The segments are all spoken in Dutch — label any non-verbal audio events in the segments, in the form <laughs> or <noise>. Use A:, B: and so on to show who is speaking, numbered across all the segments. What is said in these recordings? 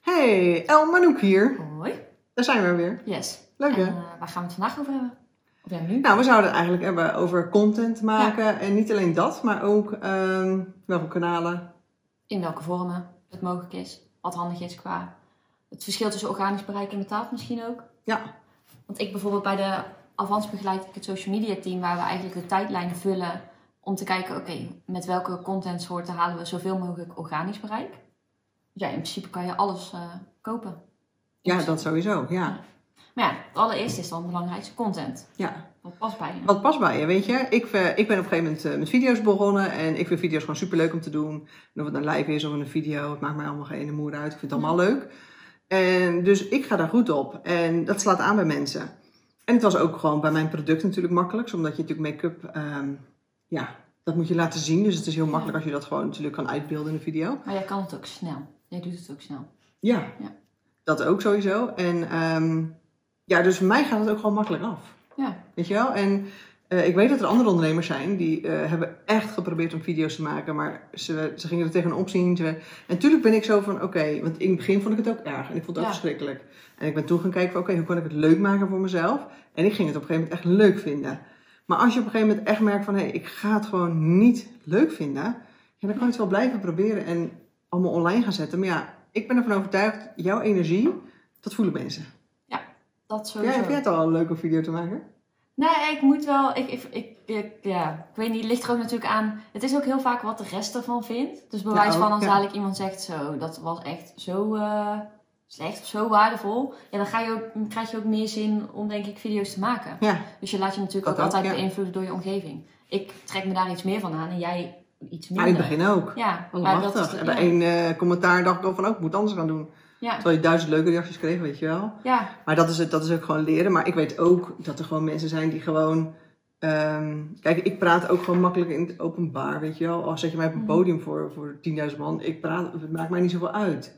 A: Hey, El Manouk hier.
B: Hoi.
A: Daar zijn we weer.
B: Yes.
A: Leuk hè?
B: En, eh, waar gaan we het vandaag over hebben? Of ja, nu?
A: Nou, we zouden het eigenlijk hebben over content maken. En niet alleen dat, maar ook ehm, welke kanalen.
B: In welke vormen het mogelijk is. Wat handig is qua het verschil tussen organisch bereik en betaald misschien ook.
A: Ja.
B: Want ik bijvoorbeeld bij de Avans begeleid ik het social media team waar we eigenlijk de tijdlijn vullen om te kijken, oké, met welke contentsoorten halen we zoveel mogelijk organisch bereik. Ja, in principe kan je alles eh, kopen. Dus-
A: Ja, dat sowieso. Ja.
B: Maar ja, het allereerste is dan het belangrijkste content.
A: ja.
B: Wat past bij je.
A: Wat past bij je, weet je? Ik, eh, ik ben op een gegeven moment eh, met video's begonnen. En ik vind video's gewoon superleuk om te doen. En of het nou live is of in een video, het maakt mij allemaal geen ene moer uit. Ik vind het allemaal leuk. En dus ik ga daar goed op. En dat slaat aan bij mensen. En het was ook gewoon bij mijn product natuurlijk makkelijk. Omdat je natuurlijk make-up, ehm, ja, dat moet je laten zien. Dus het is heel makkelijk als je dat gewoon natuurlijk kan uitbeelden in een video.
B: Maar jij kan het ook snel. Jij doet het ook snel.
A: Ja,
B: Ja.
A: dat ook sowieso. En ehm, ja, dus voor mij gaat het ook gewoon makkelijk af.
B: Ja.
A: Weet je wel? En eh, ik weet dat er andere ondernemers zijn die eh, hebben echt geprobeerd om video's te maken, maar ze, ze gingen er tegenop opzien. Ze- en tuurlijk ben ik zo van, oké, want in het begin vond ik het ook erg en ik vond het ook
B: Ja.
A: verschrikkelijk. En ik ben toen gaan kijken van, oké, hoe kan ik het leuk maken voor mezelf? En ik ging het op een gegeven moment echt leuk vinden. Maar als je op een gegeven moment echt merkt van, hé, ik ga het gewoon niet leuk vinden, ja, dan kan je het wel blijven proberen en allemaal online gaan zetten. Maar ja, ik ben ervan overtuigd, jouw energie, dat voelen mensen.
B: Dat
A: Ja,
B: sowieso.
A: heb jij het al een leuke video te maken?
B: Nee, ik moet wel. Ik, ik, ik, ik- ja, ik weet niet, het ligt er ook natuurlijk aan. Het is ook heel vaak wat de rest ervan vindt. Dus bewijs
A: ook,
B: van als
A: ja.
B: dadelijk iemand zegt zo, dat was echt zo eh, slecht of zo waardevol. Ja, dan ga je ook, dan krijg je ook meer zin om denk ik video's te maken.
A: Ja,
B: Dus je laat je natuurlijk
A: Dat
B: ook
A: ook,
B: altijd
A: ja.
B: beïnvloeden door je omgeving. Ik trek me daar iets meer van aan en jij iets
A: ja
B: minder.
A: in het begin ook.
B: Ja, maar dat is
A: Allemachtig.
B: de-
A: En Oh, bij
B: ja.
A: één eh, commentaar dacht ik al van, oh, ik moet anders gaan doen.
B: Ja,
A: Terwijl je duizend leuke reacties kreeg, weet je wel.
B: ja,
A: Maar dat is, het, dat is ook gewoon leren. Maar ik weet ook dat er gewoon mensen zijn die gewoon... ehm, kijk, ik praat ook gewoon makkelijk in het openbaar, weet je wel. Al zet je mij op een
B: Mhm.
A: podium voor, voor 10.000 man, ik praat, het maakt mij niet zoveel uit.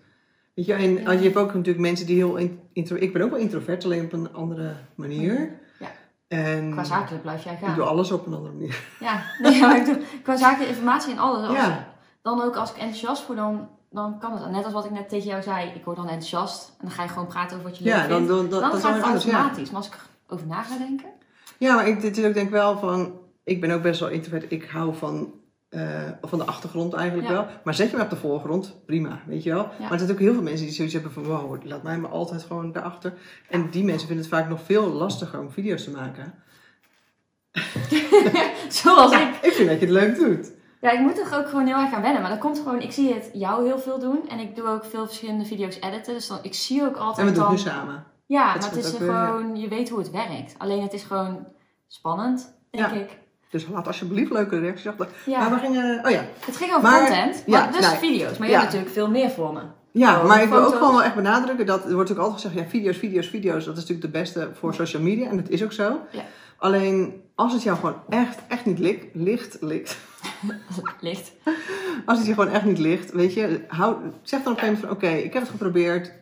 A: Weet je, en
B: Ja.
A: als je hebt ook natuurlijk mensen die heel... in- Intro, ik ben ook wel introvert, alleen op een andere manier.
B: Ja.
A: En
B: qua zakelijk blijf jij
A: ik
B: gaan.
A: doe alles op een andere manier.
B: Ja, <laughs> nee, maar ik doe, qua zaken, informatie en alles. Als-
A: Ja.
B: Dan ook als ik enthousiast word, dan, dan kan het. Net als wat ik net tegen jou zei, ik word dan enthousiast. En dan ga je gewoon praten over wat je
A: Ja,
B: leuk
A: dan,
B: vindt.
A: dan, dan,
B: Dan,
A: dat is
B: gaat
A: wel
B: het
A: anders, ja.
B: automatisch. Maar als ik erover na ga denken... <laughs>
A: Ja, maar ik, dit is ook denk ik wel van... Ik ben ook best wel introvert. Ik hou van, eh, van de achtergrond eigenlijk
B: Ja.
A: wel. Maar zet je me op de voorgrond, prima, weet je wel. Maar er zijn ook heel veel mensen die zoiets hebben van... Wow, laat mij maar altijd gewoon daarachter. En die mensen vinden het vaak nog veel lastiger om video's te maken.
B: Zoals ik.
A: Ik vind dat je het leuk doet.
B: Ja, ik moet toch ook gewoon heel erg aan wennen. Maar dat komt gewoon... Ik zie het jou heel veel doen. En ik doe ook veel verschillende video's editen. Dus dan, ik zie ook
A: En
B: altijd
A: we doen het
B: dan...
A: nu samen.
B: Ja,
A: Dat
B: maar het
A: is
B: is
A: ook weer, ja.
B: gewoon... Je weet hoe het werkt. Alleen het is gewoon spannend, denk
A: Ja.
B: ik. Dus
A: Dus laat alsjeblieft leuke reacties achter.
B: ja,
A: Maar we gingen... Oh ja.
B: het ging over
A: maar-
B: content.
A: ja,
B: maar dus
A: nee.
B: video's. Maar je
A: Ja.
B: hebt natuurlijk veel meer vormen.
A: Ja,
B: Oh,
A: maar ik wil ook
B: foto's.
A: gewoon wel echt benadrukken dat er wordt ook altijd gezegd: ja, video's, video's, video's, dat is natuurlijk de beste voor social media en dat is ook zo.
B: Ja.
A: Alleen als het jou gewoon echt, echt niet lik, licht, likt,
B: <laughs>
A: <laughs>
B: Licht.
A: als het je gewoon echt niet ligt, weet je, hou, zeg dan op een gegeven moment van oké, ik heb het geprobeerd.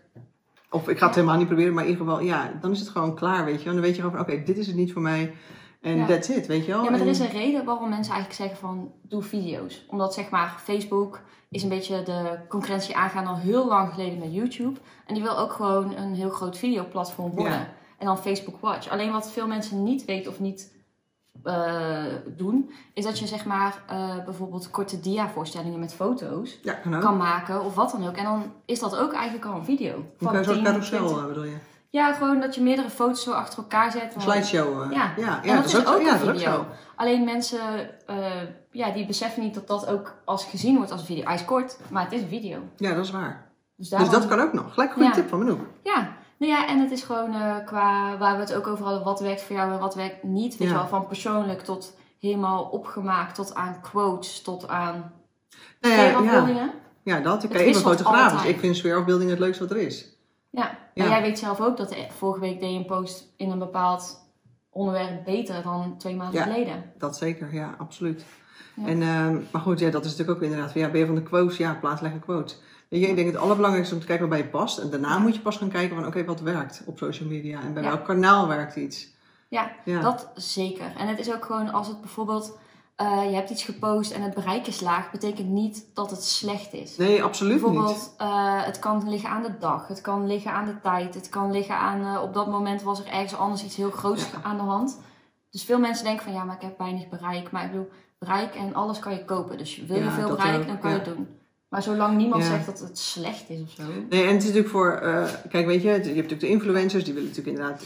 A: Of ik ga het
B: Ja.
A: helemaal niet proberen, maar in ieder geval, ja, dan is het gewoon klaar, weet je. wel. Dan weet je gewoon van oké, dit is het niet voor mij. En
B: Ja.
A: that's it, weet je wel.
B: Ja, maar er
A: Oh, En-
B: is een reden waarom mensen eigenlijk zeggen van doe video's. Omdat zeg maar Facebook is een beetje de concurrentie aangaan al heel lang geleden met YouTube. En die wil ook gewoon een heel groot videoplatform worden.
A: Ja.
B: En dan Facebook Watch. Alleen wat veel mensen niet weten of niet eh, doen, is dat je zeg maar eh, bijvoorbeeld korte dia-voorstellingen met foto's
A: Ja, kan ook.
B: kan maken of wat dan ook. En dan is dat ook eigenlijk al een video.
A: Dan kan je zo'n
B: 10, 20.
A: carousel, eh, bedoel je?
B: Ja, gewoon dat je meerdere foto's zo achter elkaar zet.
A: Een
B: Want-
A: slideshow. eh,
B: Ja.
A: ja,
B: en dat, is ook,
A: zo. ja,
B: een
A: dat is
B: video.
A: ook zo.
B: Alleen mensen eh, ja, die beseffen niet dat dat ook als gezien wordt als een video. Hij is kort, maar het is een video.
A: Ja, dat is waar. Dus
B: Dus, daarom,
A: dat kan ook nog. Gelijk een goede
B: Ja.
A: tip van Manouk.
B: Ja. Nou ja, en het is gewoon eh, qua waar we het ook over hadden. Wat werkt voor jou en wat werkt niet. Weet
A: Ja.
B: je wel, van persoonlijk tot helemaal opgemaakt. Tot aan quotes, tot aan
A: Nou ja, ja,
B: sfeerafbeeldingen.
A: ja, dat. Ik
B: Het
A: ben even
B: wisselt
A: fotograaf, dus
B: altijd.
A: ik vind sfeerafbeelding het leukste wat er is.
B: Ja.
A: Ja.
B: Maar jij weet zelf ook dat eh, vorige week deed je een post in een bepaald onderwerp beter dan twee maanden
A: Ja.
B: geleden.
A: Dat zeker, ja, absoluut.
B: Ja.
A: En, ehm, maar goed, ja, dat is natuurlijk ook inderdaad. van, Ja, ben je van de quotes? Ja, plaats lekker quotes. Weet je, ik denk het allerbelangrijkste is om te kijken waarbij je past. En daarna moet je pas gaan kijken van oké, wat werkt op social media? En bij
B: Ja.
A: welk kanaal werkt iets?
B: Ja,
A: Ja,
B: Dat zeker. En het is ook gewoon als het bijvoorbeeld eh, je hebt iets gepost en het bereik is laag, betekent niet dat het slecht is.
A: Nee, absoluut niet.
B: Bijvoorbeeld, eh, het kan liggen aan de dag, het kan liggen aan de tijd, het kan liggen aan eh, op dat moment was er ergens anders iets heel groots
A: Ja.
B: aan de hand. Dus veel mensen denken van ja, maar ik heb weinig bereik. Maar ik bedoel, bereik en alles kan je kopen. Dus wil je
A: Ja,
B: veel
A: dat
B: bereik,
A: ook,
B: dan kan je
A: ja.
B: het doen. Maar zolang niemand
A: Ja.
B: zegt dat het slecht is of zo.
A: Nee, en het is natuurlijk voor, eh, kijk, weet je, het- je hebt natuurlijk de influencers, die willen natuurlijk inderdaad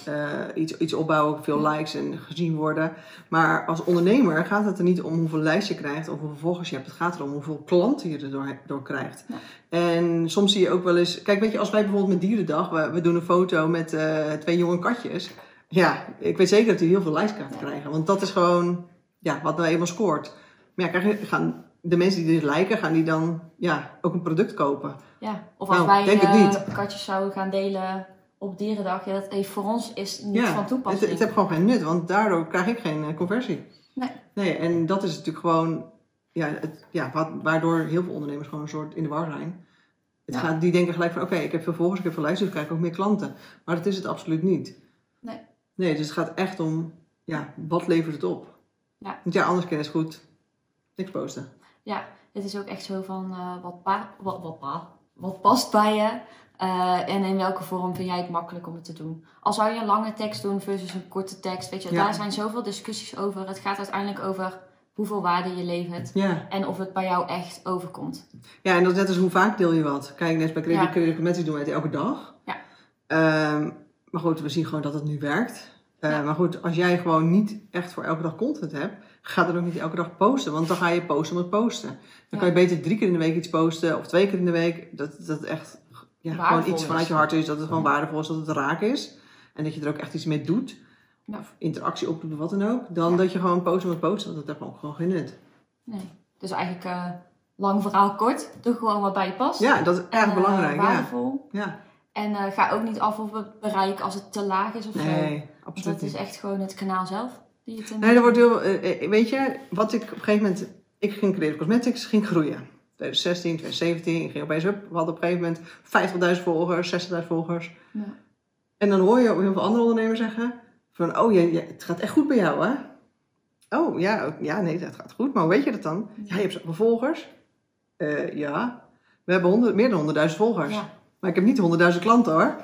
A: eh, iets, iets opbouwen, veel likes en gezien worden. Maar als ondernemer gaat het er niet om hoeveel likes je krijgt of hoeveel volgers je hebt. Het gaat erom hoeveel klanten je er door, door krijgt.
B: Ja.
A: En soms zie je ook wel eens, kijk, weet je, als wij bijvoorbeeld met Dierendag, we, we doen een foto met eh, twee jonge katjes. Ja, ik weet zeker dat die heel veel likes gaat
B: Ja.
A: krijgen, want dat is gewoon ja, wat nou eenmaal scoort. Maar ja, krijg je- gaan de mensen die dit liken, gaan die dan ja, ook een product kopen.
B: Ja. Of als
A: Nou,
B: wij
A: denk het
B: eh,
A: niet.
B: katjes zouden gaan delen op dierendag, ja, dat heeft voor ons is niet van
A: het,
B: toepassing.
A: het heeft gewoon geen nut, want daardoor krijg ik geen eh, conversie.
B: Nee.
A: Nee, en dat is natuurlijk gewoon, ja, het, ja, wa- waardoor heel veel ondernemers gewoon een soort in de war zijn. Het
B: Ja.
A: gaat, die denken gelijk van, oké, ik heb veel volgers, ik heb veel likes, dus ik krijg ook meer klanten. Maar dat is het absoluut niet.
B: Nee.
A: Nee, dus het gaat echt om, ja, wat levert het op?
B: Ja.
A: Want ja, anders kennis goed, niks posten.
B: Het is ook echt zo van eh, wat, pa- wat, wat, pa- wat past bij je eh, en in welke vorm vind jij het makkelijk om het te doen. Al zou je een lange tekst doen versus een korte tekst, weet je,
A: Ja.
B: daar zijn zoveel discussies over. Het gaat uiteindelijk over hoeveel waarde je levert
A: Ja.
B: en of het bij jou echt overkomt.
A: Ja, en dat is net als hoe vaak deel je wat. Kijk, net bij
B: Ja.
A: creditcompetentie doen we het elke dag.
B: Ja.
A: Ehm, maar goed, we zien gewoon dat het nu werkt. Eh,
B: Ja.
A: Maar goed, als jij gewoon niet echt voor elke dag content hebt, ga dan ook niet elke dag posten. Want dan ga je posten om het posten. Dan
B: Ja.
A: kan je beter drie keer in de week iets posten of twee keer in de week. Dat dat echt ja, gewoon
B: Waardevol
A: iets
B: is.
A: vanuit je hart is, dat het gewoon waardevol is, dat het raak is. En dat je er ook echt iets mee doet.
B: Ja.
A: Of interactie op doet of wat dan ook. Dan
B: Ja.
A: dat je gewoon posten om het posten, want dat heeft gewoon, gewoon geen nut.
B: Nee. Dus eigenlijk eh, lang verhaal kort, doe gewoon wat bij je past.
A: Ja, dat is
B: En,
A: erg
B: eh,
A: belangrijk. Ja.
B: Waardevol.
A: ja.
B: En eh, ga ook niet af op het bereik als het te laag is of zo.
A: Nee,
B: Want
A: absoluut
B: dat is
A: niet.
B: echt gewoon het kanaal zelf die het in.
A: Nee, dat wordt heel, eh, eh, weet je, wat ik op een gegeven moment, ik ging creëren cosmetics, ging groeien. 2016, 2017, ik ging opeens up. We hadden op een gegeven moment 50.000 volgers, 60.000 volgers.
B: Ja.
A: En dan hoor je ook heel veel andere ondernemers zeggen van, oh, je, je- het gaat echt goed bij jou, hè? Oh, ja, ook- ja, nee, dat gaat goed, maar hoe weet je dat dan? Ja, je hebt zoveel volgers. Eh, ja, we hebben honderd, meer dan 100.000 volgers.
B: Ja.
A: Maar ik heb niet 100.000 klanten, hoor.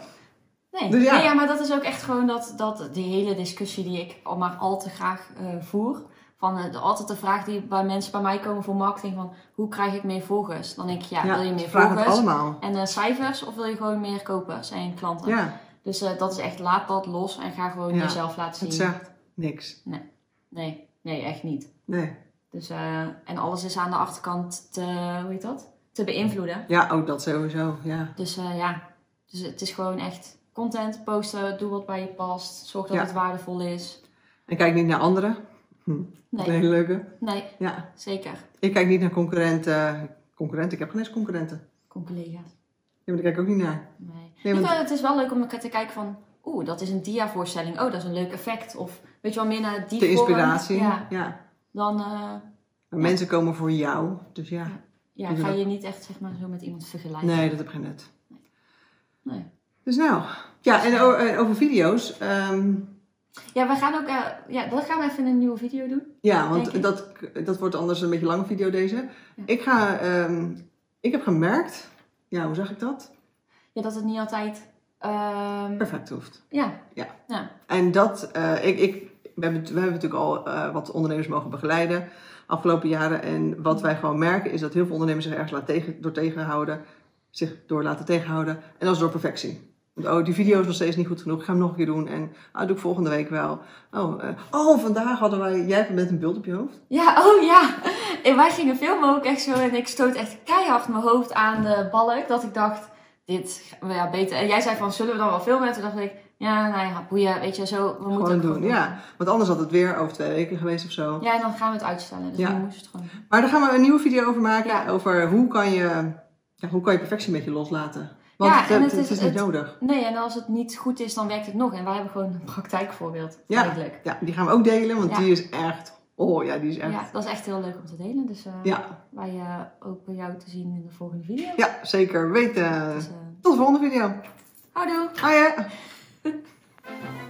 B: Nee,
A: Dus ja.
B: Nee, ja, maar dat is ook echt gewoon dat, dat die hele discussie die ik al maar al te graag eh, voer. Van eh, de, altijd de vraag die bij mensen bij mij komen voor marketing van hoe krijg ik meer volgers? Dan denk ik, ja, wil je
A: ze
B: meer
A: vragen het
B: volgers
A: allemaal.
B: en eh, cijfers of wil je gewoon meer kopers en klanten?
A: Ja,
B: Dus eh, dat is echt, laat dat los en ga gewoon
A: Ja.
B: jezelf laten zien.
A: het zegt niks.
B: Nee, nee, echt niet.
A: Nee.
B: Dus, eh, en alles is aan de achterkant te, hoe heet dat? Te beïnvloeden.
A: Ja, ook dat sowieso, ja.
B: Dus eh, ja, dus het is gewoon echt content posten, doe wat bij je past, zorg dat
A: Ja.
B: het waardevol is.
A: En kijk niet naar anderen. Dat is een
B: Nee,
A: hele leuke.
B: nee,
A: Ja.
B: zeker.
A: Ik kijk niet naar concurrenten. Concurrenten? Ik heb geen eens concurrenten.
B: Kom collega's.
A: Ja, maar daar kijk ik ook niet naar.
B: Nee.
A: Nee,
B: Ik,
A: want-
B: eh, het is wel leuk om elkaar te kijken van, oeh, dat is een diavoorstelling. Oh, dat is een leuk effect. Of weet je wel, meer naar die
A: De
B: vorm.
A: inspiratie.
B: Ja,
A: Ja.
B: dan eh,
A: Maar Mensen komen voor jou. Dus ja.
B: ja,
A: Ik
B: ga
A: bedoel-
B: je niet echt zeg maar, zo met iemand vergelijken.
A: Nee, dat heb geen nut.
B: Nee.
A: Dus nou. Ja, en o- en over video's. ehm,
B: Ja, we gaan ook, eh, ja, dat gaan we even in een nieuwe video doen.
A: ja,
B: Denk ik.
A: want dat, dat wordt anders een beetje een lange video deze.
B: Ja.
A: Ik ga... ehm, ik heb gemerkt... Ja, hoe zeg ik dat?
B: Ja, dat het niet altijd, ehm,
A: Perfect hoeft.
B: ja.
A: Ja.
B: ja.
A: En dat, eh, ik, ik, we, hebben, we hebben natuurlijk al eh, wat ondernemers mogen begeleiden afgelopen jaren. En wat wij gewoon merken is dat heel veel ondernemers zich ergens laat tegen, door tegenhouden, zich door laten tegenhouden. En dat is door perfectie. Want, oh, die video is nog steeds niet goed genoeg. Ik ga hem nog een keer doen. En ah, doe ik volgende week wel. Oh, eh, oh vandaag hadden wij. Jij bent een beeld op je hoofd.
B: Ja, oh ja. En wij gingen filmen ook echt zo. En ik stoot echt keihard mijn hoofd aan de balk. Dat ik dacht, dit, ja, beter. En jij zei van, zullen we dan wel filmen? En toen dacht ik, ja, nou ja, boeien. Weet je, zo, we moeten
A: Gewoon
B: het
A: doen. Ja, want anders had het weer over twee weken geweest of zo.
B: Ja, en dan gaan we het uitstellen. Dus
A: Ja.
B: nu moest het gewoon doen.
A: Maar daar gaan we een nieuwe video over maken.
B: Ja.
A: Over hoe kan, je, ja, hoe kan je perfectie een beetje loslaten. Want
B: Ja,
A: het, eh,
B: en
A: het-
B: het
A: het
B: is-
A: is niet
B: het-
A: nodig.
B: Nee, en als het niet goed is, dan werkt het nog. En wij hebben gewoon een praktijkvoorbeeld.
A: Ja.
B: Eigenlijk.
A: Ja, die gaan we ook delen, want
B: Ja.
A: die is echt. Oh ja, die is echt.
B: Ja, dat is echt heel leuk om te delen. Dus eh,
A: Ja,
B: wij eh, hopen jou te zien in de volgende video.
A: ja zeker weten.
B: Dus, eh,
A: Tot de volgende video.
B: houdoe!
A: Hoi! hè.